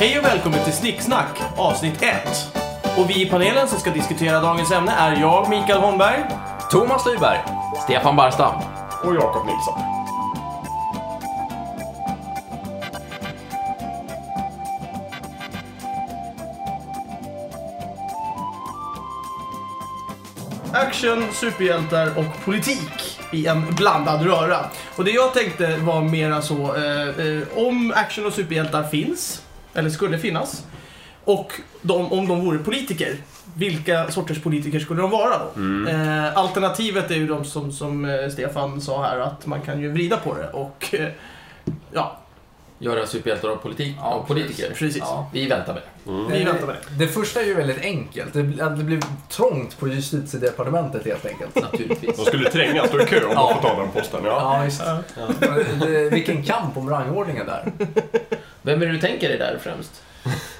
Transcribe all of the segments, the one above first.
Hej och välkommen till Snicksnack avsnitt 1. Och vi i panelen som ska diskutera dagens ämne är jag, Mikael Holmberg. Thomas Lyberg, Stefan Barstam. och Jakob Nilsson. Action, superhjältar och politik i en blandad röra. Och det jag tänkte var mera så, eh, eh, om action och superhjältar finns, eller skulle finnas, och de, om de vore politiker, vilka sorters politiker skulle de vara då? Eh, alternativet är ju de som, som eh, Stefan sa här, att man kan ju vrida på det och eh, ja, Göra superhjältar av politik, Ja, av politiker. precis. Ja. Vi väntar med det. Vi väntar med det. Eh, Det första är ju väldigt enkelt. Det, att det blev trångt på justitiedepartementet helt enkelt. De Naturligtvis. skulle trängas, stå i kö om de får ta den posten. Ja. Ja, visst. Eh, Det- Vilken kamp om rangordningen där. Vem är det du tänker dig där främst?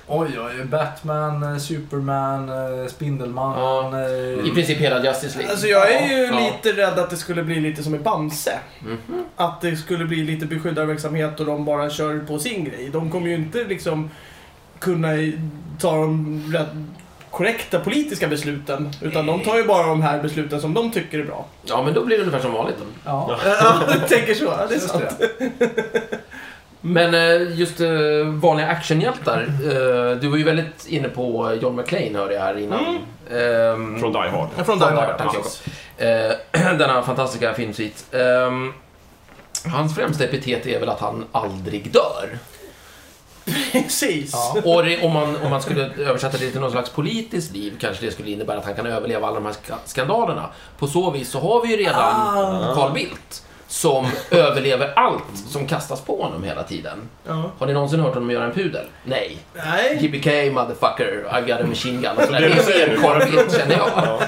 Oj, oj, Batman, eh, Superman, eh, Spindelman. Ja. eh, I princip hela Justice League. Alltså jag är ju Ja. lite rädd att det skulle bli lite som i Bamse. Mhm. Att det skulle bli lite beskyddarverksamhet och de bara kör på sin grej. De kommer ju inte liksom kunna i- ta de rätt korrekta politiska besluten. Utan de tar ju bara de här besluten som de tycker är bra. Ja, men då blir det ungefär som vanligt. Då. Ja, Ja, jag tänker så. Ja, Det är just sant. det. Men eh, just eh, vanliga actionhjältar. eh, Du var ju väldigt inne på John McClane hörde jag här innan. Ehm, Från Die Hard. Ja, Mm. Från Från Danmark. Dark, tack ja. Jakob. Eh, Denna fantastiska filmsvit. Ehm, Hans främsta epitet är väl att han aldrig dör. Precis. Ja. Och det, om, man, om man skulle översätta det till någon slags politiskt liv kanske det skulle innebära att han kan överleva alla de här ska- skandalerna. På så vis så har vi ju redan Carl Bildt som överlever allt som kastas på honom hela tiden. Ja. Har ni någonsin hört honom göra en pudel? Nej. Nej. Yippee ki motherfucker, I've got a machine gun. Och sådär. Det Det du säger är mer nu. Carl Bildt känner jag. Ja.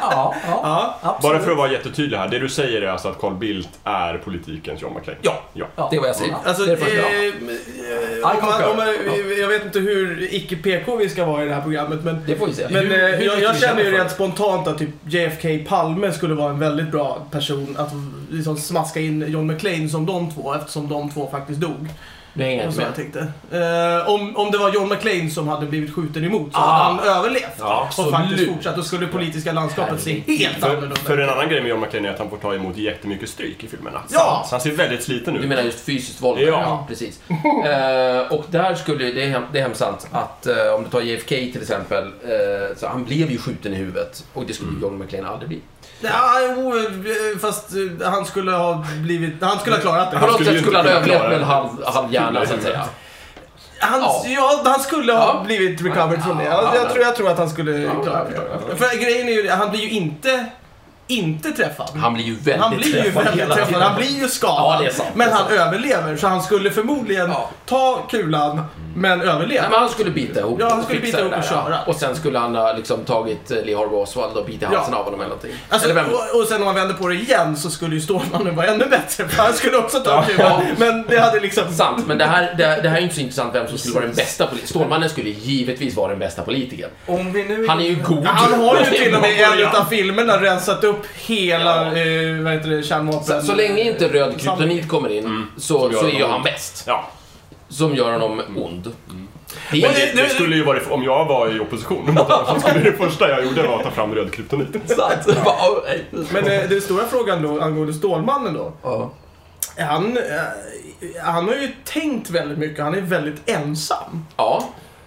Ja, ja, Ja. absolut. Bara för att vara jättetydlig här, det du säger är alltså att Carl Bildt är politikens John McClane? Ja. ja. Ja. Det är vad jag säger. Alltså, det är det första jag har. eh, eh, om man, om man, jag vet inte hur icke-PK vi ska vara i det här programmet, men Det får vi se. Men Hur- eh, hur jag, mycket jag vi känner ju känner för rent spontant att typ JFK Palme skulle vara en väldigt bra person att liksom smaska in John McClane som de två eftersom de två faktiskt dog. Nu hänger jag Och så inte jag med. tänkte. Eh, om, om det var John McClane som hade blivit skjuten emot så Ah. hade han överlevt. Ja, och absolut. faktiskt fortsatt. Då skulle det politiska landskapet se helt För, annorlunda ut. för en annan grej med John McClane är att han får ta emot jättemycket stryk i filmerna. Ja! Så han ser väldigt sliten Du ut. menar just fysiskt våld? Ja. precis. Eh, och där skulle, det är, hem, det är hemskt sant, att eh, om du tar JFK till exempel, eh, så han blev ju skjuten i huvudet och det skulle Mm. John McClane aldrig bli. Ja, jo, eh, fast eh, han skulle ha blivit... Han skulle ha klarat det. På Han något skulle sätt ju skulle han inte ha kunna överlevt klara med en det. halv, halv hjärna Kula i så att säga. huvudet. Han, ja. Ja. han skulle ha Ja. blivit recovered från det. Jag, Ja, jag, ja. tror, jag tror att han skulle Ja, klara jag förstår, jag det. För grejen är ju det, han blir ju inte, inte träffad. Han blir ju väldigt Han blir ju träffad väldigt hela träffad, tiden. han blir ju skadad. Ja, det är sant, men det är han sant. överlever, så han skulle förmodligen Ja. ta kulan, men överleva. Nej, men han skulle bita ihop Ja, han och skulle fixa bita det ihop där, och ja. köra. Och sen skulle han ha liksom tagit eh, Lee Harvey Oswald och bitit i Ja. halsen av honom eller någonting. Alltså, eller vem? och, och sen om man vänder på det igen så skulle ju Stålmannen vara ännu bättre, för han skulle också ta kulan. Men det hade liksom... Sant, men det här, det, det här är ju inte så intressant vem som skulle vara den bästa politikern. Stålmannen skulle givetvis vara den bästa politikern. eh, Om vi nu... Han är ju god. Han har ju till och med i en Ja. utav filmerna rensat upp hela, Ja. eh, vad heter det, Så, kärnvapen... så länge inte röd kryptonit kommer in så, Som gör så är ju honom- han bäst. Ja. Som gör honom ond. Det Men är det, det skulle ju varit, om jag var i opposition mot honom, så skulle det första jag gjorde vara att ta fram röd kryptonit. sant. Bara, oh, nej. Men eh, den stora frågan då angående Stålmannen då. Ja. Han, eh, han har ju tänkt väldigt mycket, han är väldigt ensam. Ja,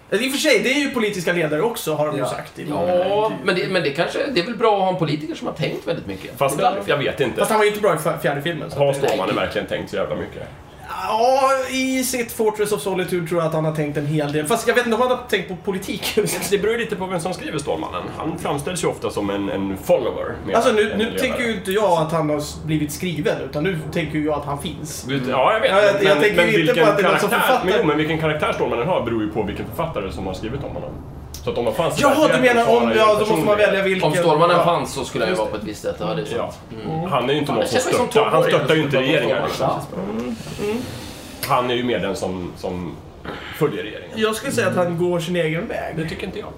Eller I och för sig, det är ju politiska ledare också har de ju Ja. sagt. i många ja. intervjuer. Men, det, men det kanske det är väl bra att ha en politiker som har tänkt väldigt mycket. Fast jag vet Fast inte. han var ju inte bra i f- fjärde filmen. Så. Har Stålmannen verkligen tänkt så jävla mycket? Ja, i sitt Fortress of Solitude tror jag att han har tänkt en hel del. Fast jag vet inte om han har tänkt på politik. Det beror ju lite på vem som skriver Stålmannen. Han framställs ju ofta som en, en follower. mer Alltså nu, än nu ledare. tänker ju inte jag att han har s- blivit skriven, utan nu tänker ju jag att han finns. Du- Ja, jag vet. Ja, jag- jag tänker ju inte på att det är någon som karaktär- författar. Men, jo, men vilken karaktär Stålmannen har beror ju på vilken författare som har skrivit om honom. Så att om de fanns i Jaha, du verkligheten menar så har om... han ju Ja, en då måste man personlighet. välja vilken... Om Stålmannen ja. fanns så skulle jag ju vara på ett visst sätt. Ja, det är sant. Ja. Han är ju inte någon det som känns som störtar. Han tonåring. störtar ju inte regeringar liksom. Ja. Han är ju mer den som, som följer regeringen. Jag skulle säga att han går sin egen väg. tycker inte jag.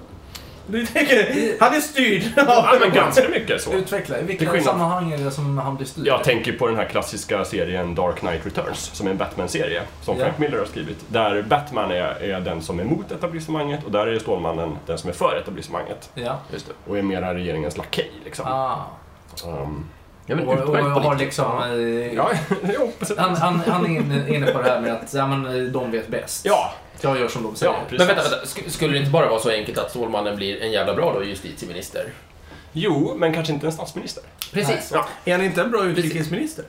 Du tänker, han är styrd av... Ja, men ganska mycket så. Utveckla, i Till vilka skillnad- sammanhang är det som han blir styrd? Jag tänker på den här klassiska serien Dark Knight Returns, som är en Batman-serie som Ja. Frank Miller har skrivit. Där Batman är, är den som är mot etablissemanget och där är Stålmannen den som är för etablissemanget. Ja. Just det. Och är mera regeringens lakej liksom. Ah. Um, Ja, men Och, och, utmärkt har politik. liksom... eh, ja, jo, precis. Han, han, han är inne, inne på det här med att ja, men, eh, de vet bäst. Ja, Jag gör som de säger. ja, precis. Men vänta, vänta. Sk- Skulle det inte bara vara så enkelt att Stålmannen blir en jävla bra då justitieminister? Jo, men kanske inte en statsminister. Precis. Ja, Är han inte en bra utrikesminister?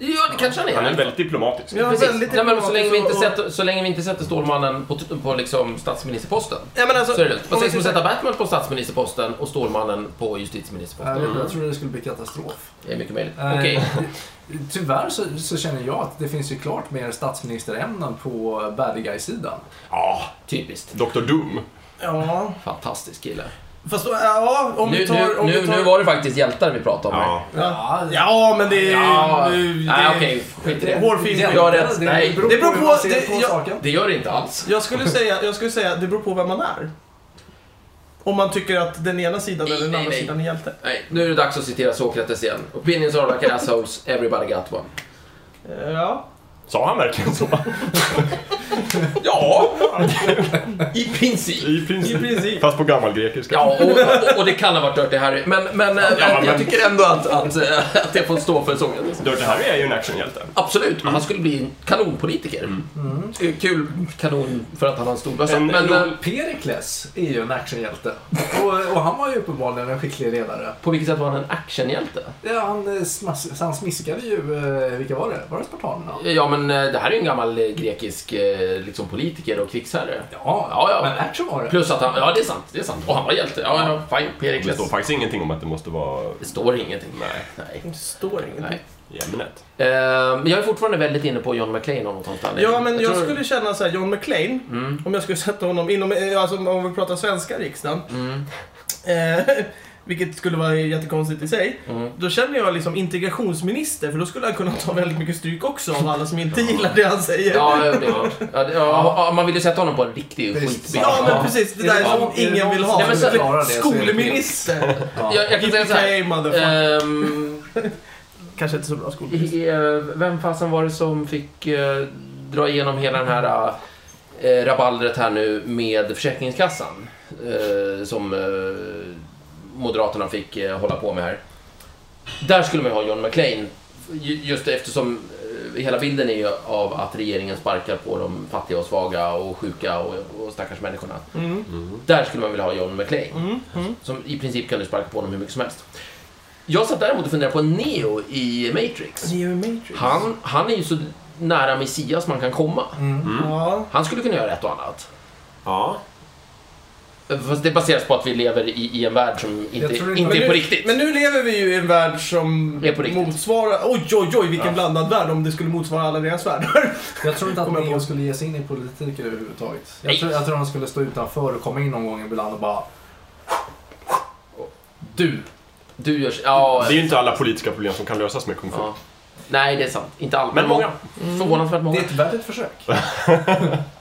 Ja, det kanske han är. han är väldigt diplomatisk. Ja. Precis. väldigt Nej, men så, länge vi inte diplomatisk och- sätter, så länge vi inte sätter Stålmannen på, på liksom statsministerposten. Ja, men alltså, Så är det lugnt. Vad om vi sägs om att tittar- sätta Batman på statsministerposten och Stålmannen på Eh, justitieministerposten? jag- Jag trodde det skulle bli katastrof. Det är mycket möjligt. Eh, Okej. Tyvärr så, så känner jag att det finns ju klart mer statsministerämnen på bad guy-sidan. Ja, Typiskt. Dr. Doom. Ja, Fantastisk kille. fast då, ja, om Nu, vi tar... nu, Om nu, vi tar nu var det faktiskt hjältar vi pratade om. här. Ja, ja men det... Ja. nu- det Nej, okej. Skit i det. Hårfin. Jävlar, Jag har rätt. det- Nej. Det beror på, Det beror hur på- man ser det- på jag- saken. Det gör det inte alls. Jag skulle säga, jag skulle säga, det beror på vem man är. Om man tycker att den ena sidan Nej, eller den nej, andra nej. sidan är hjälte. Nej, nu är det dags att citera Sokrates igen. Opinions are like assholes, everybody got one. Ja. Sa han verkligen så? Ja, i princip. I princip. I princip. Fast på gammalgrekiska. Ja, och, och, och det kan ha varit Dirty Harry. Men, men, eh, Ja, jag men- tycker ändå att, att, eh, att det får stå för sången. Dirty Harry är ju en actionhjälte. Absolut, han skulle bli en kanonpolitiker. Eh, Kul kanon för att han har en stor bössa. Mm. En- Men en- eh, Perikles är ju en actionhjälte. Och, och han var ju uppenbarligen en skicklig ledare. på vilket sätt var han en actionhjälte? Ja, han, eh, smas, han smiskade ju, eh, vilka var det? Var det spartanerna? Ja, men eh, det här är ju en gammal eh, grekisk eh, liksom, politiker och krigsherre. Ja, Ja, ja. men action var det. Plus att han, ja det är sant, det är sant. Och han var hjälte. Ja, ja, fine, Det Perikles. står faktiskt ingenting om att det måste vara Det står ingenting. Nej. Nej. Det står ingenting. Nej. i ämnet. Eh, men jag är fortfarande väldigt inne på John McClane av någon anledning. Ja, men jag tror- skulle känna så här, John McLean, om jag skulle sätta honom inom, eh, alltså om vi pratar svenska riksdagen, Mm. eh, vilket skulle vara jättekonstigt i sig, Mm. då känner jag liksom integrationsminister, för då skulle han kunna ta väldigt mycket stryk också av alla som inte gillar det han säger. Ja, det är klart. ja, det- ja, ja, man vill ju sätta honom på en riktig Precis. skitbild. Ja, men precis. Det där Är det som någon- är det ingen någon vill som ha. Nej, men så- klarar det, så är det Skolminister! Ja. Jag, jag kan säga så här. Yippee-ki-yay, motherfucker. Ehm, Kanske inte så bra skolminister. i- eh, vem fasen var det som fick eh, dra igenom hela den här eh, rabaldret här nu med Försäkringskassan? Eh, som eh, Moderaterna fick eh, hålla på med här. Där skulle man ju ha John McClane. ju- Just eftersom eh, hela bilden är ju av att regeringen sparkar på de fattiga och svaga och sjuka och, och stackars människorna. Mm. Där skulle man vilja ha John McClane. Mm. Mm. Som i princip kan du sparka på honom hur mycket som helst. Jag satt däremot och funderade på Neo i Matrix. Neo Matrix. Han, han är ju så nära Messias man kan komma. Ja. Han skulle kunna göra ett och annat. Ja. Fast det baseras på att vi lever i, i en värld som Jag inte, tror inte, Men inte- är nu, på riktigt. Men nu lever vi ju i en värld som Är på riktigt. motsvarar... Oj, oj, oj, vilken Ja. blandad värld om det skulle motsvara alla deras världar. Jag tror inte att Kommer jag Neo på. skulle ge sig in i politik överhuvudtaget. Jag Nej. tror, jag tror han skulle stå utanför och komma in någon gång ibland och bara... Du. Du gör... Ja. Det är ju inte alla politiska problem som kan lösas med kung fu. ja. Nej, det är sant. Inte alla. Men många. Förvånansvärt Det många. är ett värdigt försök.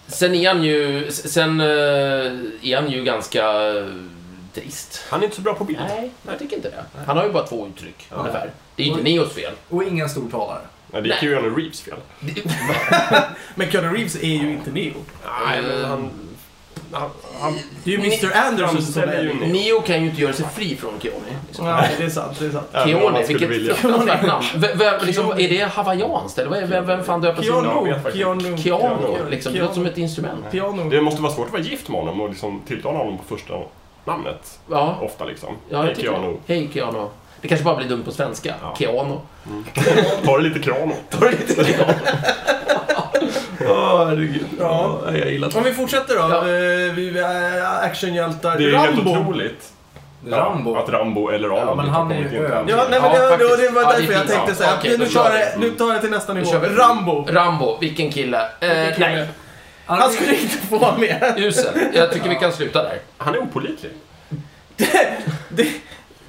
Sen är han ju... Sen eh, är han ju ganska eh, trist. Han är inte så bra på bild. Nej, jag tycker inte det. Han har ju bara två uttryck, Ja. ungefär. Det är ju inte Mm. Neos fel. Och ingen stor talare. Nej, det gick ju Keanu Reeves fel. Men Keanu Reeves är ju inte Neo. Nej, men Ehm, han... han, han Det är ju Mr Anderson som är framställer ju Neo. Neo. Neo kan ju inte göra sig fri från Keoni. Liksom. Nej, det är sant, det är sant. Även om han Keoni, skulle vilket vilja. fruktansvärt namn. Vem, vem, liksom, är det hawaiianskt eller vad är- vem, vem fan döper sig jag vet Keanu, faktiskt. Keanu, Keanu, liksom. Det låter som ett instrument. Piano. Det måste vara svårt att vara gift med honom och liksom tilltala honom på första namnet. Ja, Ofta liksom. ja Hej jag tycker Keanu. det. Hej Keanu. Det kanske bara blir dumt på svenska. Ja. Keanu. Ta det lite Keanu. Oh, herregud. Ja. jag gillar Om vi fortsätter då. Ja. Eh, Vi eh, actionhjältar. Det är ju helt Rambo! otroligt. Rambo. Ja, att Rambo eller Alan Ja, men blir han är tagit ju in i en ö. tävling. Ja, nej, men det, Ja, det, faktiskt. det var Ja, det därför är jag fint. tänkte Ja, säga att okej, nu, då tar kör det, nu tar det till nästa nivå. kör vi. Rambo! Rambo, vilken kille. Eh, nej, Han, Han skulle inte få vara med. usel. Jag tycker vi kan sluta där. Han är opålitlig. Det,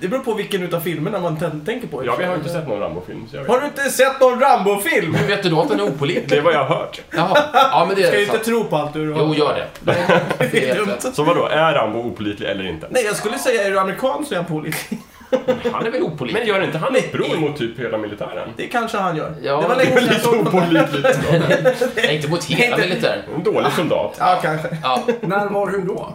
Det beror på vilken utav filmerna man tän- tänker på. Jag har inte sett någon Rambo-film, så jag vet. Har du inte sett någon Rambo-film? Hur vet du då att den är opålitlig? Det är vad jag har hört. Jaha, ja men det Ska är ju sant. inte tro på allt du Jo, gör det. Det är helt dumt. rätt. Så vadå, är Rambo opålitlig eller inte? Nej, jag skulle säga är du amerikan så är han pålitlig. Han är väl Men opålitlig? gör inte han uppror mot typ hela militären? Det kanske han gör. Ja, det var det länge Det är sedan jag lite såg honom. opålitligt. Nej, inte mot hela Inte- militären. En dålig soldat. Ja, kanske. Ja, När, var, hur då?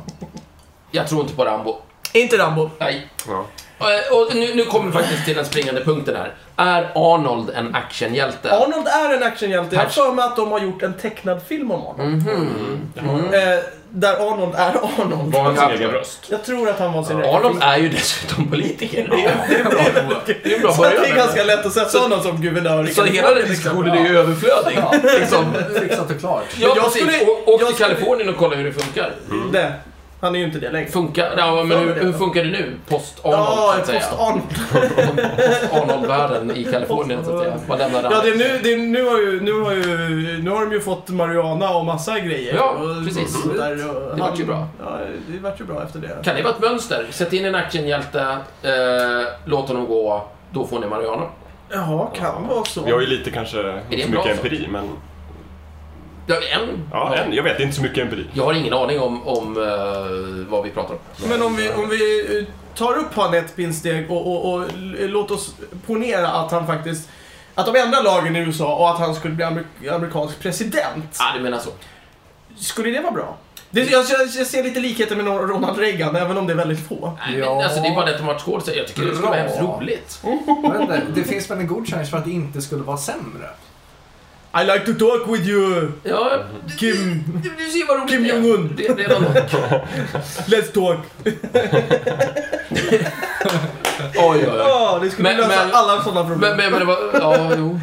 jag tror inte på Rambo. Inte Rambo. Nej. Ja. Och, och nu, nu kommer vi faktiskt till den springande punkten här. Är Arnold en actionhjälte? Arnold är en actionhjälte. Jag har Tack. för mig att de har gjort en tecknad film om honom. Mhm. Eh, där Arnold är Arnold. Mm. Var Hans han- egen röst. Jag tror att han var sin egen. Arnold är ju dessutom politiker. Det är bra. Det är en bra Så att det är början. ganska lätt att sätta honom som guvernör. i Så hela den Kalifornien, diskussionen liksom. är ju överflödig. Liksom. Fixat och klart. Ja, jag precis. skulle- Å- Åk jag till skulle- Kalifornien och kolla hur det funkar. Nej, han är ju inte det längre. Funkar? Ja, men hur, hur funkar det nu? Ja, Post-Arnold, så att säga. post-Arnold. Arnold-världen i Kalifornien, så att säga. Man lämnar Ja, det är nu, det är, nu, har ju, nu, har ju, nu har de ju fått marijuana och massa grejer. Ja, och, precis. och där, och Det vart ju bra. Ja, det vart ju bra efter det. Kan det vara ett mönster? Sätt in en actionhjälte, eh, låt honom gå, då får ni Mariana. Jaha, kan vara så. Vi har ju lite kanske, det inte så en bra mycket sak? empiri, men... Ja, en? Ja, en, jag vet, det är inte så mycket empiri. Jag har ingen aning om, om eh, vad vi pratar om. Men om vi, om vi eh, tar upp han ett pinnsteg och, och, och l- låt oss ponera att han faktiskt att de ändrar lagen i USA och att han skulle bli amer- amerikansk president. Ah, du menar så. Skulle det vara bra? Det, jag, jag, jag ser lite likheter med Ronald Reagan, även om det är väldigt få. Nej, men, Ja. alltså, det är bara det att de har ett skådespel. Jag tycker det skulle vara Bra. hemskt roligt. Vänta, det finns väl en god chans för att det inte skulle vara sämre? I like to talk with you, Ja, Kim. du, du ser vad roligt Kim det är. Jong-Un. Det, det är något. Let's talk. Oj, oj, oj. Ja, det skulle Men- lösa men- alla sådana problem. Men, men, men det var... Ja, jo.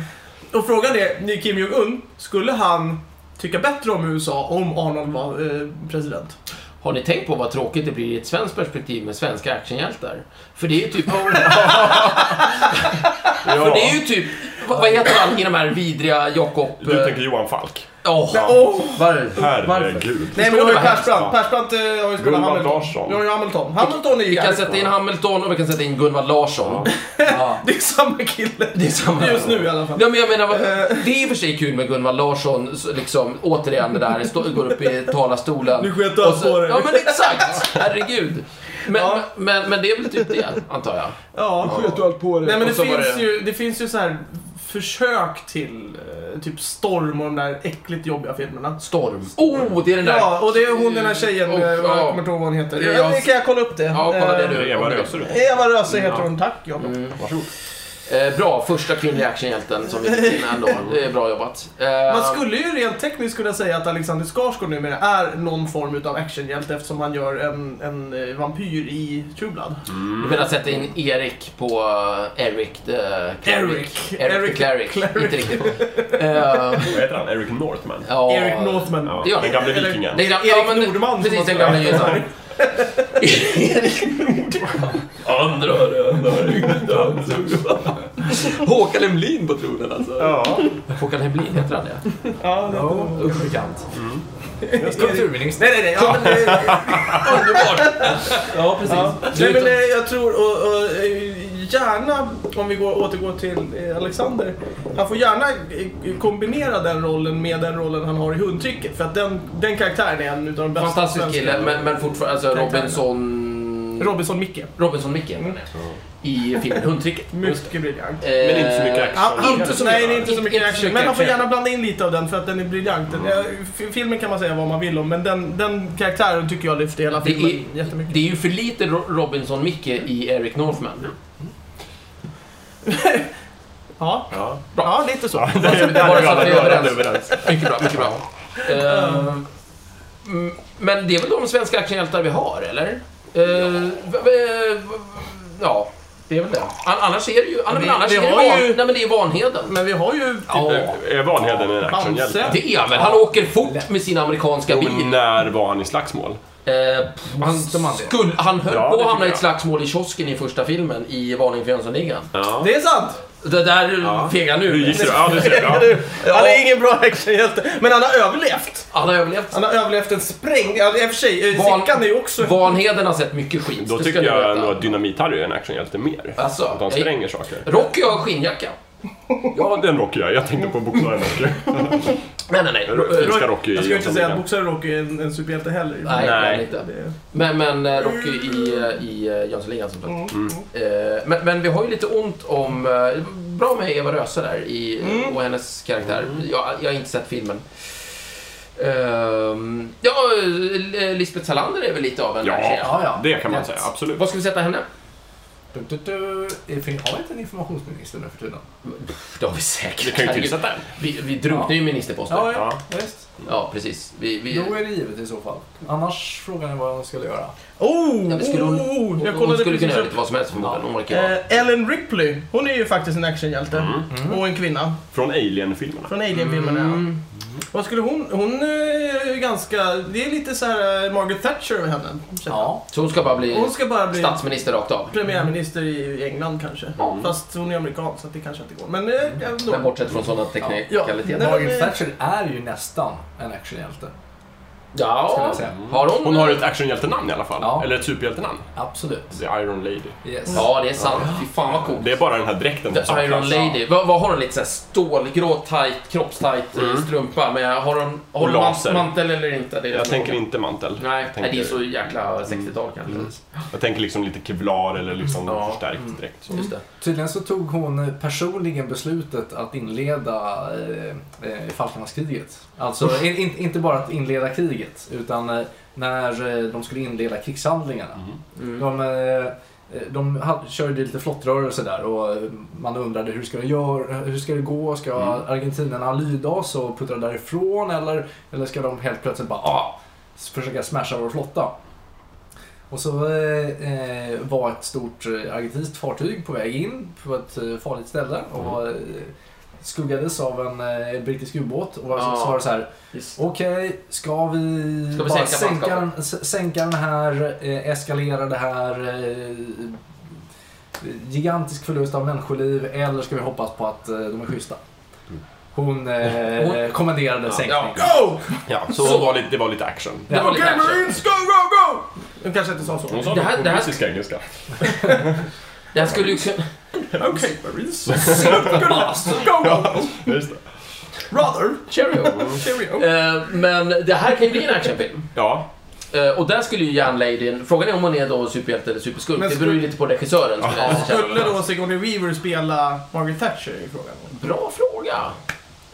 och frågan är, ny Kim Jong-Un, skulle han tycka bättre om USA om Arnold var eh, president? Har ni tänkt på vad tråkigt det blir i ett svenskt perspektiv med svenska actionhjältar? För det är ju typ... Ja. För det är ju typ... Vad, vad heter han i de här vidriga Jakob... Du tänker Johan Falk? Åh, Men, åh! var, varför? Herregud. Nej men då har ju Förstår du vad Persbrandt. hemskt? Persbrandt eh, har ju spelat Gunvald Hamilton. Larsson. Vi har ju Hamilton. Hamilton är ju Vi kan jävligt sätta in bra. Hamilton och vi kan sätta in Gunvald Larsson. Det är samma kille. Det är samma. Just nu i alla fall. Ja, men jag menar, vad- Eh. det är i och för sig kul med Gunvald Larsson, så liksom, återigen det där, stå, går upp i talarstolen. Nu sket allt och så- på dig. Ja, men exakt! Herregud. Men, Ja. men, men det är väl typ det, antar jag. Ja. du allt på Nej men det Och så var finns, det- Ju, det finns ju så här försök till eh, typ Storm och de där äckligt jobbiga filmerna. Storm. Oh, det är den där... Ja, och det är hon den här tjejen, Oh, eh, jag ja. kommer inte ihåg vad hon heter. Det är Ja, jag- det kan jag kolla upp det. Ja, kolla det Eh, du. Eva Röserud. Eva Röse heter hon, tack Jakob. Mm. Varsågod. Eh, bra, första kvinnliga actionhjälten som vi fick in ändå. Det är bra jobbat. Eh, Man skulle ju rent tekniskt kunna säga att Alexander Skarsgård numera är någon form utav actionhjälte eftersom han gör en, en eh, vampyr i True Blood. Du menar sätta in Erik på eh, Eric the Eric. Cleric. Eric, Eric the Cleric. Cleric. Inte riktigt. Eh, Vad heter han? Eric Northman? ja. Eric Northman. Ja, Ja. den gamle vikingen. Den gam- Erik ja, men- Nordman, som Precis, den man gamla säger. gysan. Erik Nordman. Andra rören Håkan Hemlin på tronen alltså. Ja, Håkan Hemlin, heter han det? Ja, det- Usch, bekant. Kulturminister. Nej, nej, nej. Ja, men, eh, Underbart! Ja, precis. Ja. Nej, men eh, jag tror, och, och, eh, gärna, om vi går, återgår till eh, Alexander, han får gärna eh, kombinera den rollen med den rollen han har i Hundtricket. För att den, den karaktären är en utav de bästa Fantastisk svenska- kille, men, men fortfarande, alltså Tänk Robinson... Robinson-Micke. Robinson-Micke i filmen Hundtricket. eh, Mycket briljant. men inte så mycket Han, action. inte så, nej, det är inte så Inte- mycket inte så action. mycket Men han får action. gärna blanda in lite av den för att den är briljant. Den, eh, f- filmen kan man säga vad man vill om, men den, den karaktären tycker jag lyfter hela Det filmen är, jättemycket. det är ju för lite Ro- Robinson-Micke i Eric Northman. Ja, Ja. ja, lite så. Det är Bara så att vi är överens. överens. Mycket bra, mycket bra. Ehm, mm, men det är väl de svenska actionhjältar vi har, eller? Ehm, v- v- v- ja, det är väl det. An- Annars är det ju... An- Men vi- men annars vi är det har van, ju- Nej, men det är Vanheden. Men vi har ju... Typ Ja, Är Vanheden en actionhjälpe? det är han väl. Han åker fort med sin amerikanska Jo, bil. När var han i slagsmål? Eh, han, Måste man det? skulle, han höll Ja, på det att hamna tycker i jag. ett slagsmål i kiosken i första filmen i Varning för Jönssonligan. Ja. Det är sant! Det där Ja. fegar nu. Du gick du? Ja, du ser. Ja. Han är ingen bra actionhjälte, men han har överlevt. Han har överlevt. Han har överlevt en sprängning. Ja, i och för sig, eh, Van- Sickan är ju också... Vanheden har sett mycket skit. Då det tycker ska du jag veta. nog att Dynamit-Harry är en actionhjälte mer. Alltså, att han jag- spränger saker. Rocky har skinnjacka. Ja, den Rocky jag. Jag tänkte på boxaren Rocky. Nej, nej, nej. Ro- Eh, älskar Rocky Jag i skulle inte säga att Jönssonligan. boxare Rocky är en, en superhjälte heller. Nej, Nej. nej. Inte. Det- Men, men eh, Rocky i, eh, i eh, Jönssonligan som sagt. Mm. Mm. Eh, Men, men vi har ju lite ont om... eh, Bra med Eva Röse där i, Mm. och hennes karaktär. Mm. Jag, jag har inte sett filmen. Ehm, ja, eh, Lisbeth Salander är väl lite av en actionhjälte. Ja, Ja, ja. det kan man säga. Absolut. Vad ska vi sätta henne? Du, du, du. Är fin- Har vi inte en informationsminister nu för tiden? Det har vi säkert. Vi kan ju Herregud. tillsätta en. Vi, vi drunknar ju i ministerposter. Ja, Ja, ja. ja. Visst. precis. Vi, vi, Då är det givet i så fall. Annars frågan är vad de skulle göra. Oh, Ja, men skulle oh, hon- oh, jag hon kollade skulle kunna precis göra upp. lite vad som helst förmodligen. Hon verkar ju vara- Eh, Ellen Ripley, hon är ju faktiskt en actionhjälte. Och en kvinna. Från Alien-filmerna. Från Alien-filmerna. ja. Vad skulle hon... Hon eh, är ju ganska... Det är lite så här eh, Margaret Thatcher över henne. känner jag. Ja. Så hon ska bara bli Hon ska bara bli statsminister rakt av. premiärminister i England kanske. Mm. Fast hon är amerikan så att det kanske inte går. Men eh, ändå. Men bortsett från sådana teknikaliteter. Nej, Ja. men- Margaret Thatcher är ju nästan en actionhjälte. Skulle jag säga. Har hon... Hon har ett actionhjältenamn i alla fall. Ja. Eller ett superhjältenamn. Absolut. The Iron Lady. Yes. Ja, det är sant. Fy fan vad coolt. Det är bara den här dräkten som The Iron saknas. Lady. Vad, vad har hon? Lite såhär stålgrå, tight, kroppstight eh, strumpa. Men har hon, har hon Mm. laser. man- mantel eller inte? Det är Jag frågan. tänker inte mantel. Nej, jag nej, tänker, Mm. det är så jäkla 60-tal kanske. jag tänker liksom lite kevlar eller liksom Ja. Mm. förstärkt dräkt. Så. Just det. Tydligen så tog hon personligen beslutet att inleda eh, eh, Falklandskriget. Alltså in, in, inte bara att inleda kriget utan eh, när eh, de skulle inleda krigshandlingarna. Mm. De, eh, de ha- körde lite flottrörelse där och eh, man undrade hur ska det, göra, hur ska det gå? Ska argentinarna lyda oss och puttra därifrån eller, eller ska de helt plötsligt bara ah, s- försöka smasha vår flotta? Och så eh, eh, var ett stort eh, argentinskt fartyg på väg in på ett eh, farligt ställe och eh, skuggades av en eh, brittisk ubåt och var, Ja. så var det så här Just. Okej, ska vi, Ska vi sänka bara sänka, den, manskapet? s- sänka den här, eh, eskalera det här, eh, gigantisk förlust av människoliv eller ska vi hoppas på att eh, de är schyssta? Hon, eh, Hon- kommenderade Ja. sänkning. Ja. Go! Ja, så, Så. Det, var lite, det var lite action. Det var lite Okay, action. Marines, go, go, go! De kanske inte sa så. Hon sa Det det här- på det här- brittisk engelska. Det här skulle ju kunna... Okej, Marines. go, go! Ja, just det. Rather. Cheerio. Cheerio. Eh, Men det här kan ju bli en actionfilm. Ja, Eh, Och där skulle ju järnladyn... Frågan är om hon är då superhjälte eller superskurk. Men Det beror ju skulle- lite på regissören. skulle jag känna. Skulle då Sigourney Weaver spela Margaret Thatcher i frågan? Bra fråga.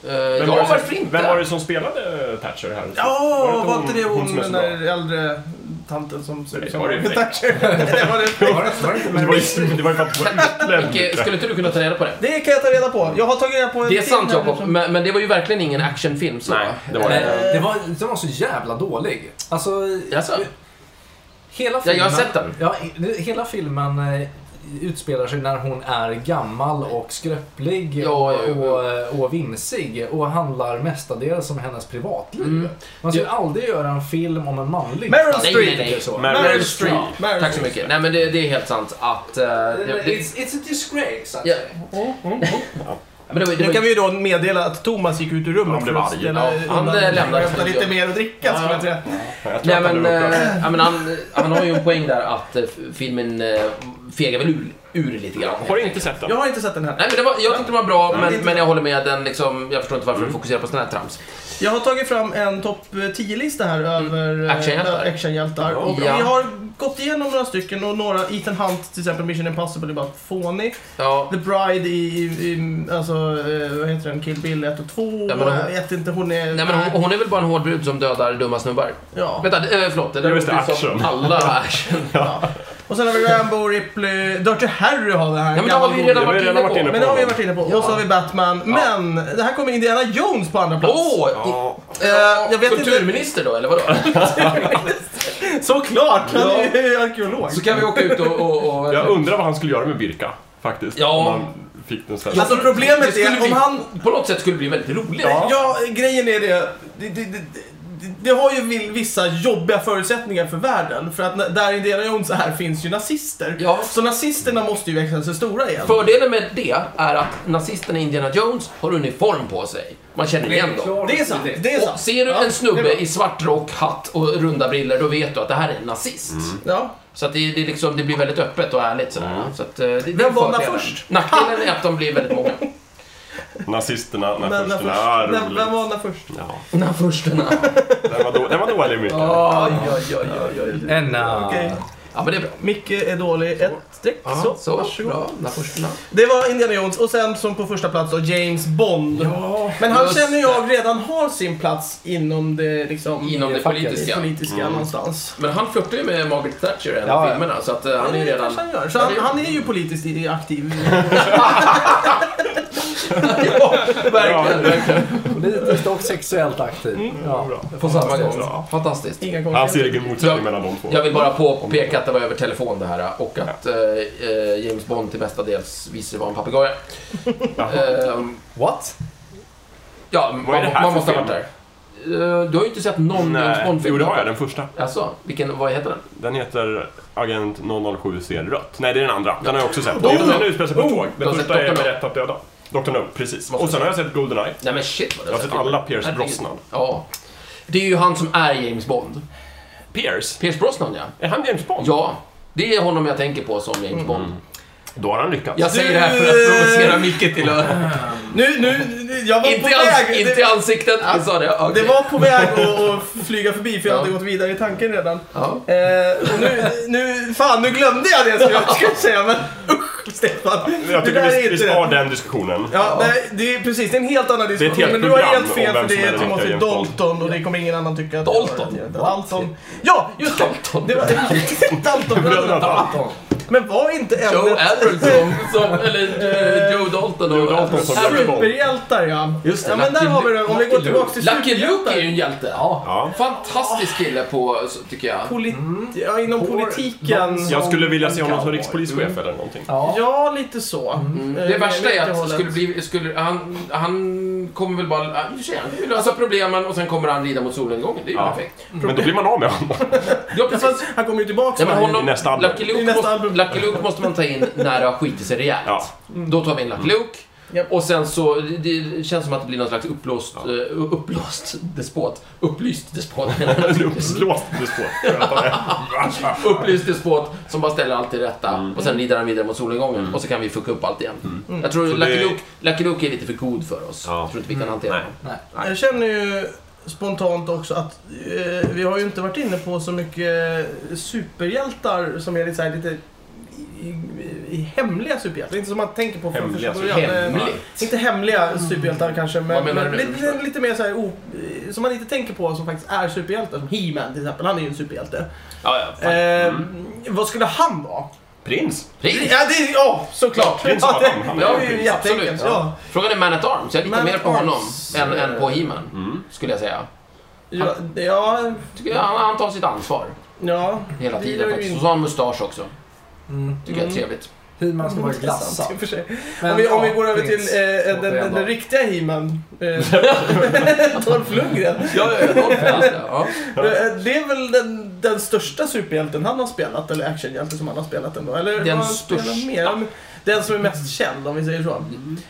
Eh, ja, Vem var det som- varför inte? Vem var det som spelade Thatcher här? Ja, var, hon- inte det hon, som är så den där äldre tanten som ser Nej, ut som var det Margaret inte. Thatcher? Det, var det, Var det- var det inte bra? Det med- var ju det var ju för att hon var Micke, utländsk. skulle inte du kunna ta reda på det? det kan jag ta reda på. Jag har tagit reda på en Det är film sant här Jakob, som- men, men det var ju verkligen ingen actionfilm. Så. Nej, det var det inte. Nej, det var, den var så jävla dålig. Alltså, Jaså? hela Ja, filmen, jag har sett den. Ja, det- hela filmen eh, utspelar sig när hon är gammal och skröplig Ja, ja, ja. Och, och vimsig och handlar mestadels om hennes privatliv. Mm. Man skulle aldrig göra en film om en manlig Meryl karaktär. Streep. Nej, nej, nej. Så. Meryl Meryl Streep. Streep. Meryl Tack så Streep. mycket. Nej men det, det är helt sant att... eh, det, det, It's, it's a disgrace. ja. Mm, mm. men det var, det Nu var, kan vi ju då meddela att Thomas gick ut ur rummet Han blev för att arg. ställa Ja, han, undan- eh, lämnade hämta studion. lite mer att dricka skulle jag säga. Jag tror Nej att han men, blev upprörd. eh, ja, men han, han har ju en poäng där att eh, filmen eh, fegar väl ur, ur lite grann. Har inte sett den? Jag har inte sett den här. Nej, men det var, jag tyckte den var bra, men, inte- men jag håller med. Den liksom, jag förstår inte Mm. varför den fokuserar på sådana här trams. Jag har tagit fram en topp 10-lista här över eh, Mm. Actionhjältar. actionhjältar. Och Ja. Vi har gått igenom några stycken och några, Ethan Hunt till exempel, Mission Impossible är bara fånig. Ja, The Bride i, i, i alltså, eh, vad heter den, Kill Bill 1 och 2. Ja, men hon- jag vet inte, hon är... Nej, men hon, hon är väl bara en hård brud som dödar dumma snubbar. Ja. Vänta, äh, förlåt. Det där Just det, låter ju som action. alla action. Och sen har vi Rambo, Ripley, Dirty Harry har vi här. Ja, men det har vi ju redan Det har vi varit redan varit inne inne på. Men det har vi varit inne på. Ja. Och så har vi Batman. Men det här kommer Indiana Jones på andra plats. Åh! Ja. i- Eh, jag vet inte. Kulturminister då, eller vadå? Såklart! Han Ja. är ju arkeolog. Så kan vi åka ut och... och, och Jag undrar vad han skulle göra med Birka, faktiskt. Ja. Om han fick den ställd. Alltså Det problemet skulle är bli- om han... På något sätt skulle det bli väldigt roligt. Ja, grejen är det. det, det, det det har ju vill- vissa jobbiga förutsättningar för världen. För att när- där Indiana Jones är finns ju nazister. Ja. Så nazisterna måste ju växa sig stora igen. Fördelen med det är att nazisterna i Indiana Jones har uniform på sig. Man känner igen dem. Det är sant. Det är Och sant. ser du Ja, en det snubbe är bra. i svart rock, hatt och runda briller, då vet du att det här är en nazist. Mm. Ja. Så att det, det, är liksom, det blir väldigt öppet och ärligt sådär. Så att, eh, det, det är Vem var fördelen. först? Nackdelen är att de blir väldigt många. Nazisterna, Men när nazisterna, ah, först? roligt. Vem, vem var när först? Ja, När försterna. den var, då, den var dålig Mikael. Oj, oj, oj, oj, oj. Enna. Okej. Ja, men det är bra. Micke är dålig. Ett streck. Ja, så, så, varsågod. bra. När försterna. Det var Indiana Jones och sen som på första plats då James Bond. Ja. Men han Just känner jag redan har sin plats inom det liksom... Inom det facket, det politiska. politiska någonstans. Men han flörtar ju med Margaret Thatcher i en Ja, av ja. filmerna, så att eh, han är ju Det redan... kanske han gör. Så han, han är ju politiskt i- aktiv. ja, verkligen, verkligen. Politiskt och sexuellt Mm. aktiv. Ja, på samma gång. Bra. Fantastiskt. Inga Han ser konstigheter. ingen motsättning mellan de två. Jag vill bara påpeka att det var över telefon det här och att eh, eh, James Bond till mestadels visste det var en papegoja. Ehm, What? ja, Vad är det man, här man för måste ha varit film? där. Eh, du har ju inte sett någon James Nej, Bond-film. eh, jo det har jag, den första. Alltså, vilken, vad heter den? Den heter Agent 007 ser rött. Nej, det är den andra. Den har jag också sett. Dr. Jo, den No. utspelar sig på ett tåg. Du Oh! har Den sett första är Dr. med No. rätt att döda. Dr. No, precis. Måste Och sen har jag sett Goldeneye. Nej men shit vad du Jag har sett filmen. alla Pierce Herregud. Brosnan. Ja. Det är ju han som är James Bond. Pierce? Pierce Brosnan ja. Är han James Bond? Ja, det är honom jag tänker på som James Bond. Då har han lyckats. Jag säger det här för att provocera Micke till att... Nu, nu, nu- jag var Inte på i, ans- väg. inte i ansiktet, jag sa det. det, Okej. det var på väg att, att flyga förbi för jag hade Ja. gått vidare i tanken redan. Ja. Eh, och nu, nu, fan nu glömde jag det som jag skulle säga men usch Stefan. Jag det tycker där är vi, inte vi rätt. sparar den diskussionen. Ja, Nej, det är precis, det är en helt annan diskussion. helt men du har program helt fel om vem för det som är är den Timothy riktiga James Dalton och det kommer ingen annan tycka att Dalton? jag var- Dalton. Ja, just det. Dalton. Det var Dalton. Bröderna Men var inte Joe ämnet Edwards som, som eller eh, Joe Dalton. och- Joe Dalton som Edwards. Lucky Luke. superhjältar ja. Just det, ja, men där Lucky har vi det. Om vi går Luke. tillbaka till Lucky Luke är ju superhjältar. en hjälte. Ja. Ja. Fantastisk kille på, så- tycker jag. Polit- ja, inom Mm. Får politiken. någon Jag skulle vilja se honom som Cowboy. rikspolischef eller någonting. Ja. Ja, lite så. Mm. Eh, Det värsta åt är att hållet. skulle bli, skulle, han, han kommer väl bara... ja, i och för sig, Han kommer lösa problemen och sen kommer han rida mot solnedgången. Det är ju Ja. perfekt. Men då blir man av med honom. Ja, Ja, fast precis. han kommer ju tillbaka. Ja, men varje- honom, I nästa album. Lucky, I Luke nästa måste, album. Lucky Luke måste man ta in när det har skitit sig rejält. Ja. Mm. Då tar vi in Lucky Luke. Japp. Och sen så, det det känns som att det blir någon slags uppblåst, ja. uppblåst despot. Upplyst despot. En uppblåst despot. Upplyst despot som bara ställer allt till rätta. Mm. Och sen rider han vidare mot solnedgången. Och så kan vi fucka upp allt igen. Mm. Jag tror Så Lucky, det- Luke, Lucky Luke är lite för god för oss. Ja. Jag tror inte vi Mm. kan hantera Nej. honom. Jag känner ju spontant också att eh, vi har ju inte varit inne på så mycket superhjältar som är lite, så här, lite i, i, i hemliga superhjältar. Inte som man tänker på från Hemliga första början. Eh, alltså Hemligt. Inte hemliga superhjältar kanske, men, Vad menar du men med lite, det? lite, lite mer så här, o, eh, som man inte tänker på som faktiskt är superhjältar. Som He-Man till exempel, han är ju en superhjälte. Ja, ja. fan. Eh, Vad skulle han vara? Prins? Pris. Ja, det, ja såklart! Det är inte så Ja, att han- han är det en är ju prins, jätteenkelt. absolut. Ja. Frågan är Man at Arms. Jag litar Man mer at på honom Arms, än, eh, än på He-Man. Mm. Skulle jag säga. Ja, ja, Tycker jag, han, han tar sitt ansvar ja. hela det tiden gör faktiskt. ju Och så har han mustasch också. Mm. Tycker jag är trevligt. He-Man ska vara intressant glassad. i och för sig. Men om, vi, om vi ja, går över till prins. eh, den, den, Återigen den då. riktiga He-Man. Eh, Dolph Lundgren. Ja, ja, ja. Eh, Det är väl den, den största superhjälten han har spelat, eller actionhjälten som han har spelat ändå. Eller Den har han spelat största. Mm. Mer? Men Den som är mest känd om vi säger så.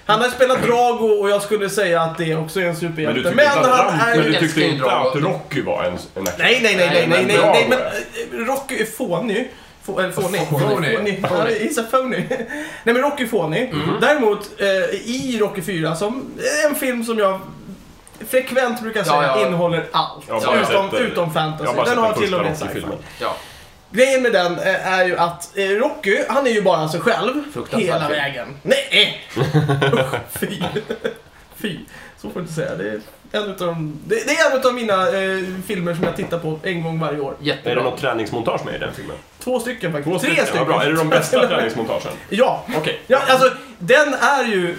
Han har spelat Drago och jag skulle säga att det också är en Men superhjälte. du Men, tyckte inte att han Rambo- är... men du Jag tyckte älskar ju inte Drago. att Rocky var en, en action? Nej, nej, nej, nej, nej, nej, Drago. nej, men eh, Rocky är fånig. Få- eller Fånig. Fånig. Fånig. Ja, He's a phony. Nej men Rocky är fånig. Mm. Däremot eh, i Rocky 4, som en film som jag frekvent brukar säga Ja, ja. innehåller allt. Jag har bara utom, sett, eh, utom Jag fantasy. har bara Den har sett den till och första med sci-fi. Rocky-filmen. ja. Grejen med den eh, är ju att eh, Rocky, han är ju bara sig själv Fruktansvärt hela film. vägen. Nej! Usch, Fy. Fy. Så får du inte säga. Det är en utav, de- det, det är en utav mina eh, filmer som jag tittar på en gång varje år. Är det Jättebra. något träningsmontage med i den filmen? Två stycken faktiskt. Två Tre stycken. Ja, bra. Är det de bästa träningsmontagen? Ja. Okej. ja, alltså den är ju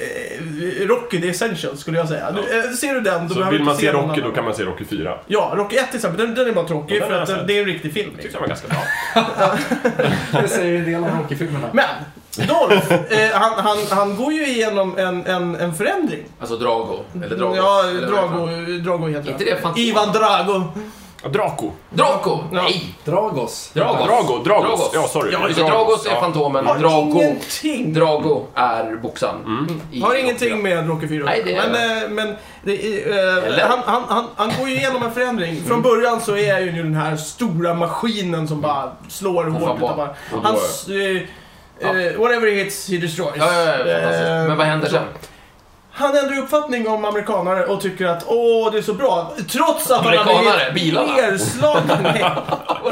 eh, Rocky the Essentials skulle jag säga. Du, eh, ser du den, då Så behöver vill du man inte se någon Rocky, annan. då kan man se Rocky 4. Ja, Rocky 1 till exempel, den, den är bara Ja, tråkig den för har att jag den- sett. det är en riktig film. Tyckte jag var ganska bra. Det säger ju en del om hockeyfilmerna. Men Dolph, eh, han, han, han går ju igenom en, en, en förändring. Alltså Drago. Eller Drago. Ja, eller vad heter Drago, han? Drago heter Inte det, fan- Ivan Drago. Draco. Draco! Ja. Nej! Dragos. Dragos. Drago, Dragos. Dragos. Ja, sorry. Ja, just det. Dragos, Dragos är ja. Fantomen. Har Drago. ingenting. Drago är boxaren. Mm. i Har Rocky ingenting Rock. med Rocky 4 Nej, det är- Men, eh, men det är, Eller? Mm. eh, han, han, han, han går ju igenom en förändring. Från början så är ju den här stora maskinen som bara slår hårt. bara- Utan bara, och då- hans, eh, eh, whatever he hits, he destroys. Ja, ja, ja, fantastiskt. Eh, Men vad händer sen? Han ändrar uppfattning om amerikanare och tycker att åh, det är så bra. Trots att han Amerikanare, har bilarna. nerslagen. Nej.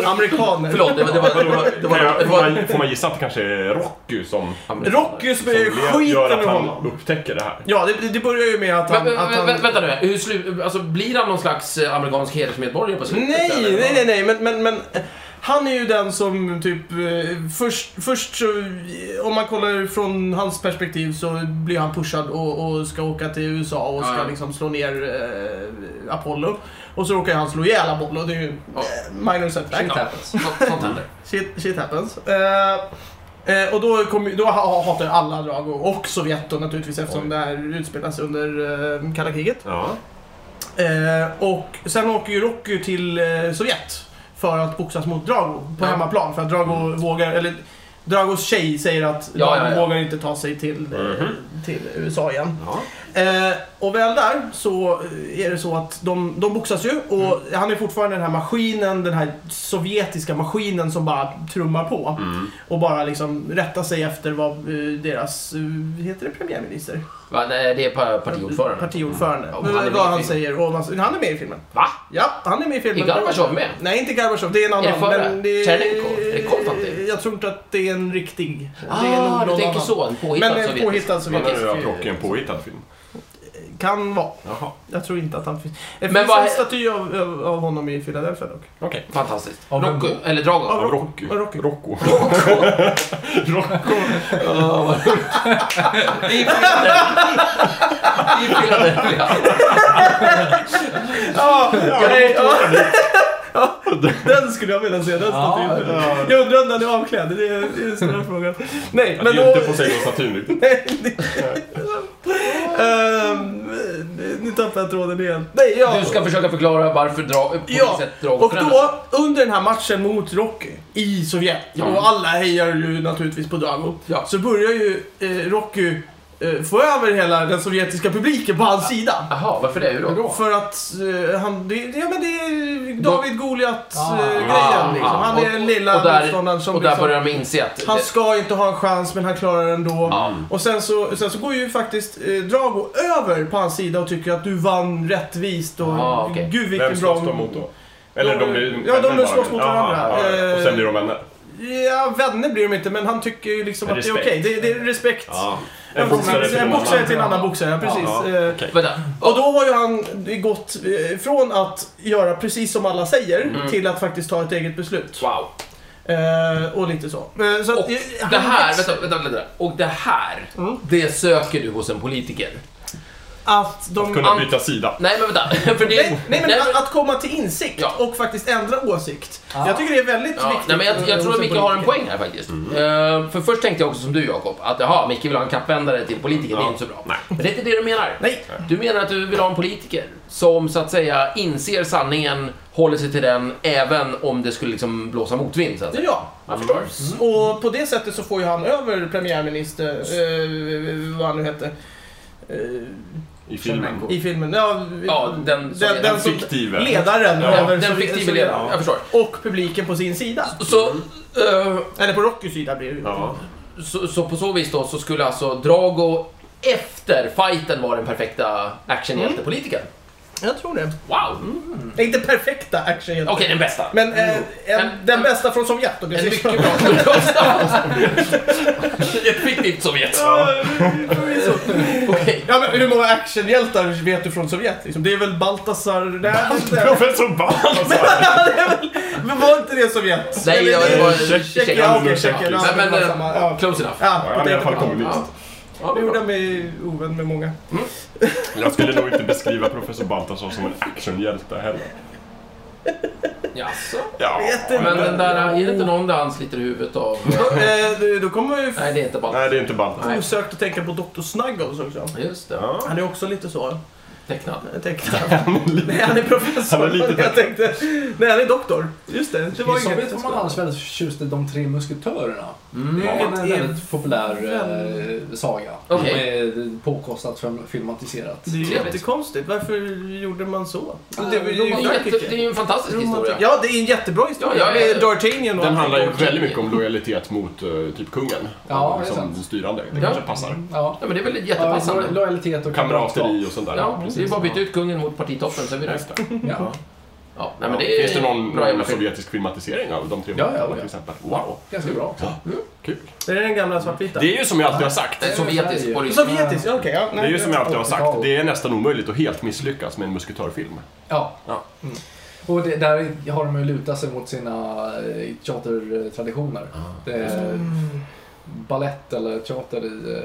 Amerikaner. Förlåt, det var... Det var, det var, det var, Kan jag- det får var, man- Får man gissa att det kanske är Rocky som, Rocky som spöar le- gör skiten att ur han honom. upptäcker det här? Ja, det, det börjar ju med att han... Men, att han... vä- vänta nu, hur slu, alltså, blir han någon slags eh, amerikansk hedersmedborgare på slutet? Nej, eller? nej, nej, nej, men, men, men eh, han är ju den som typ eh, först, först så, eh, om man kollar från hans perspektiv så blir han pushad och, och ska åka till USA och ska Ja, ja. liksom slå ner eh, Apollo. Och så råkar han slå ihjäl Apollo, det är ju Ja. eh, minor setback. Shit happens. Sånt, sånt händer. Shit, shit happens. Eh, eh, och då, kom, ju- då ha- hatar alla Drago och Sovjet då naturligtvis eftersom Oj. det här utspelas under eh, kalla kriget. Ja. Eh, och sen åker ju Rocky till eh, Sovjet för att boxas mot Drago på Ja. Mm. hemmaplan. För att Drago vågar, eller Dragos tjej säger att Ja, Drago ja, Mhm. ja. vågar inte ta sig till, eh, till USA igen. Ja. Eh, och väl där så eh, är det så att de, de boxas ju och Mm. han är fortfarande den här maskinen, den här sovjetiska maskinen som bara trummar på. Mm. Och bara liksom rättar sig efter vad eh, deras, eh, heter det premiärminister? Va, nej, det är pa- partiordförande. Mm. Partiordförande. Ja, och han är med i vad han filmen. säger. Och man, han är med i filmen. Va? Ja, han är med i Är filmen. Gorbatjov med? Nej, inte Gorbatjov. Det är en annan. Är det förra? men det- Tjernenko? Är det Konstantin? Jag tror inte att det är en riktig. det är Ah, du någon tänker annan. så. En eh, påhittad Men en sovjetisk. påhittad Menar sovjetisk. du att Rocky är en påhittad film? Kan vara. Jaha, Jag tror inte att han finns. Det Men finns vad- en staty av, av- av honom i Philadelphia dock. okej. Fantastiskt. Av vem Rocco, då? eller Drago. Av Av Rocky. Av Rocky. Rocco. I Philadelphia. I Philadelphia. Ja, ja, ja. Den skulle jag vilja se, den statyn. Jag undrar om den är avklädd, det är det är den stora frågan. Nej, Det men är då... inte Poseidon-statyn. Ehm, nu tappade jag tråden igen. Nej, ja. Du ska försöka förklara varför dra, på Ja, vilket sätt Drago och förändras. då under den här matchen mot Rocky i Sovjet, Ja. och alla hejar ju naturligtvis på Drago, Ja. så börjar ju eh, Rocky eh, få över hela den sovjetiska publiken på hans sida. Jaha, varför det? Hur då? För att eh, han, det, det- ja, men det är David Ah. Goliat-grejen Ah, liksom. Han ah. är den lilla och där, motståndaren som Och där liksom, börjar de inse att... han det- ska inte ha en chans men han klarar det ändå. Ja. Och sen så, sen så går ju faktiskt eh, Drago över på hans sida och tycker att du vann rättvist och Ah, okej. gud vilken Vem bra... slåss de mot då? Eller De- de blir ja, de vänner slåss mot bara. varandra. Jaha, ja. Och sen blir de vänner. Ja, vänner blir de inte, men han tycker ju liksom att Respekt. det är okej. Det, är- det är respekt. Ja. En boxare till en boxare till en annan boxare, ja, precis. Ja, Eh, okej. Vänta. Och då har ju han gått eh, från att göra precis som alla säger Mm. till att faktiskt ta ett eget beslut. Wow. Eh, och lite så. Eh, så att, Och eh, han det här, växer. vänta, vänta, vänta. Och det här, Mm. det söker du hos en politiker. Att de... Att kunna byta sida. Nej men vänta, för det... Nej, nej, men nej, att, att komma till insikt Ja. och faktiskt ändra åsikt. Ah. Jag tycker det är väldigt Ja, viktigt. nej, men jag, eh, jag tror hos att Micke har en politiker. poäng här faktiskt. Eh, för först tänkte jag också som du Jakob, att jaha, Micke vill ha en kappvändare till politiker, det är Ja. inte så bra. Men det är inte det du menar. Nej. Du menar att du vill ha en politiker som så att säga inser sanningen, håller sig till den, även om det skulle liksom blåsa motvind så att säga. Mm. Ja, Jag förstår. Och på det sättet så får ju han över premiärminister, eh, vad han nu hette, eh, I filmen. i filmen. Ja, Ja, den- den, den som, fiktive. ledaren. Ja, över- Den fiktive ledaren, jag förstår. Och publiken på sin sida. Så, eh, Eller på Rockys sida blir det ju. Ja. så, så på så vis då så skulle alltså Drago efter fighten vara den perfekta actionhjältepolitikern. Jag tror det. Wow! Det är Inte perfekta action Okej, den bästa. Men eh, en, En- den bästa från Sovjet. Och det En ser- mycket bra kulturkostnad. Ett fiktivt Sovjet. Okej. Ja, men hur många actionhjältar vet du från Sovjet? Liksom? Det är väl Baltasar... Nej, det är- Professor Balthazar! det är väl- men var inte det Sovjet? Nej, Eller det var- det var Tjeckien. Tjeckien. Ja, okej, Tjeckien. Ja, Nej, men, det var eh, samma. Ja. Close enough. Ja, Han är i alla fall kommunist. Ja, Det gjorde bra. han mig ovän med många. Jag skulle nog inte beskriva professor Balthazar som en actionhjälte heller. Jaså? Ja. Vet inte. Men den där, är det inte någon där han sliter huvudet av? Då, eh, då- då kommer jag ju Nej, det är inte Nej, bara... det är inte ballt. Nej. osökt att tänka på Dr. Snuggles också. Just det. Ja. Han är också lite så. Tecknad. Jag tänkte Nej, han är professor. Han är lite jag tänkte. Nej, han är doktor. Just det. Det var I Sovjet inget. var man annars väldigt förtjust i De tre musketörerna. Det är en Vilket är väldigt populär eh, saga. Okej. Som är påkostat film- filmatiserat. Det är ju Trevligt. jättekonstigt. Varför gjorde man så? Ja, Det var ju Det är, jätte, Frankrike. det är ju en fantastisk historia. Ja, det är en jättebra historia. Ja, ja, ja. Med D'Artagnan och Den handlar ju allting. väldigt mycket om lojalitet mot eh, typ kungen. Ja, Mm. det är som sant. den styrande. Det Ja. kanske passar. Ja. Ja, men det är väl Ja, jättepassande. lo- lojalitet och Kamrateri och sånt där. Ja, det är bara att byta ut kungen mot partitoppen så är vi Just rätt. det. Ja. Ja, nej, Ja. men det är Finns det någon, bra jävla någon film. sovjetisk filmatisering av de tre Ja, ja, månaderna, ja. till exempel? Wow, Ganska bra också. kul. Det är den gamla svartvita. Det är ju som jag alltid har sagt. En sovjetisk Ja. polis. Sovjetisk, okej. ja, Det nej, är ju som jag alltid har sagt. Ja. Det är nästan omöjligt att helt misslyckas med en musketörfilm. Ja. Ja. Mm. Och det, där har de ju lutat sig mot sina eh, teatertraditioner. Det är ballett eller teater i,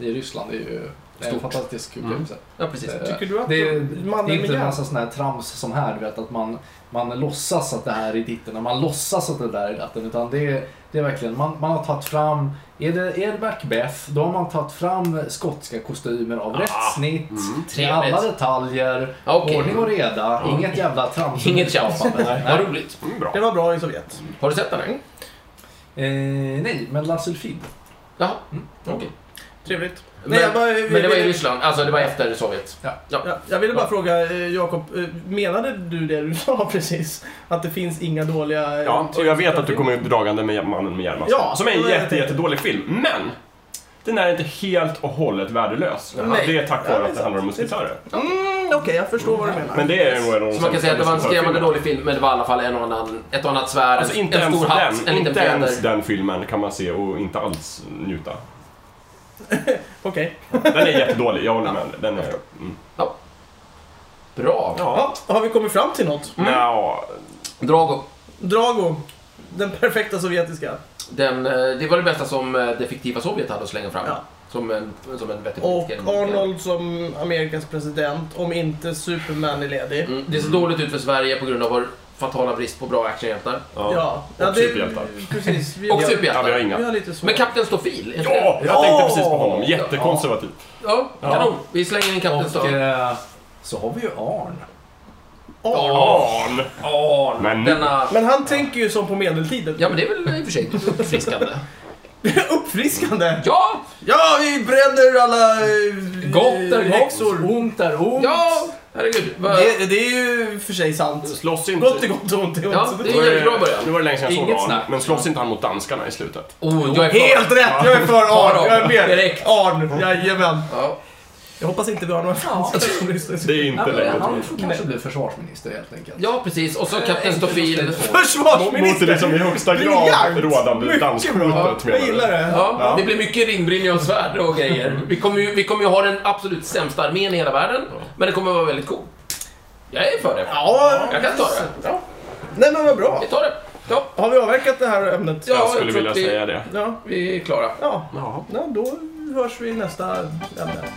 eh, i Ryssland är ju en Stort. fantastisk Mm. upplevelse. Ja, precis. Eh, Tycker du att det, är, mannen det är med inte en järn- massa sån här trams som här, du vet, att man, man låtsas att det här är ditten och man låtsas att det där är datten. Utan det är, det är verkligen, man, man har tagit fram, är det, är det Macbeth, då har man tagit fram skotska kostymer av rätt snitt, med alla Trevligt. detaljer, Ja, okej. ordning och reda, inget jävla trams. Inget tjafsande. Vad nej. roligt. Mm, bra. Det var bra i Sovjet. Har du sett den? här? Eh, nej, men La Sulfide. Jaha, okej. Trevligt. Men, Mm. jag bara- men det var i Ryssland, alltså det var efter Sovjet. Ja, jag ville bara fråga eh, Jakob, eh, menade du det du sa precis? Att det finns inga dåliga... eh, Ja, och jag vet att du kommer dragande med Mannen med järnmasken. Ja, som är det en var det jag jätte, tänkte. jättedålig film, men den är inte helt och hållet värdelös. Nej. Det är tack Ja, vare det är att det sant. handlar om musketörer. Mm, Okej, jag förstår vad du menar. Men det är nog en av de Så man kan säga sämsta att det var en skrämmande musketörfilmerna. dålig film, men det var i alla fall en och annan, ett och annat svärd, Alltså inte, en ens, stor hatt, den, en liten inte ens fjäder. den filmen kan man se och inte alls njuta. Okej. Den är jättedålig, jag håller med. Den är... Mm. Bra. Ja, har vi kommit fram till något? Mm. Nja, Drago. Drago. Den perfekta sovjetiska. Den, eh, det var det bästa som eh, det fiktiva Sovjet hade att slänga fram. Ja. Som en, som en vettig Och politiker. Arnold som Amerikas president, om inte Superman är ledig. Mm, det ser dåligt ut för Sverige på grund av vår fatala brist på bra actionhjältar. ja. Ja. Och superhjältar. Precis. Vi Och har, ja, vi har superhjältar. vi inga. har lite så. Men Kapten Stofil, är inte det? Ja, jag tänkte precis på honom. Jättekonservativ. ja, kanon. Vi slänger in Kapten Och Stofil. eh, så har vi ju Arn. Arn! Men nu... Denna... Men han tänker ju som på medeltiden. Ja, men det är väl eh, i och för sig uppfriskande. Uppfriskande! Ja! Ja, vi bränner alla eh, Gott är gott. häxor. Ont är ont. Ja! Herregud. Vad- Det, det är ju för sig sant. Slåss inte... Gott är gott och ont är ont. Ja, Så det- det är Nu var det- jättebra början. Nu var det länge sedan jag Inget såg Arn, snack. men slåss inte han mot danskarna i slutet? Oh, jag är för. Helt rätt! Jag är för Arn. Jag är med. Direkt. Arn, jajamän. Ja. Jag hoppas inte vi har några franskar som lyssnar. Det är inte Ja, men längre han till. får kanske bli försvarsminister helt enkelt. ja, precis. Eh, Och så Kapten Stofil. Mot det Försvarsminister! liksom i högsta grad Briljant! rådande Mycket bra. dansskjutet Jag menar gillar du? det. Ja, Mm. det blir mycket ringbrynja och svärd och grejer. Vi kommer, ju, vi kommer ju ha den absolut sämsta armén i hela världen, men det kommer vara väldigt cool. Jag är för det. Ja, Jag kan ta det. Ja. Nej men vad bra. Vi tar det. Ja, Har vi avverkat det här ämnet? Ja. Jag jag skulle tror vilja att vi- säga det. Ja. vi är klara. Ja. ja, då hörs vi i nästa ämne.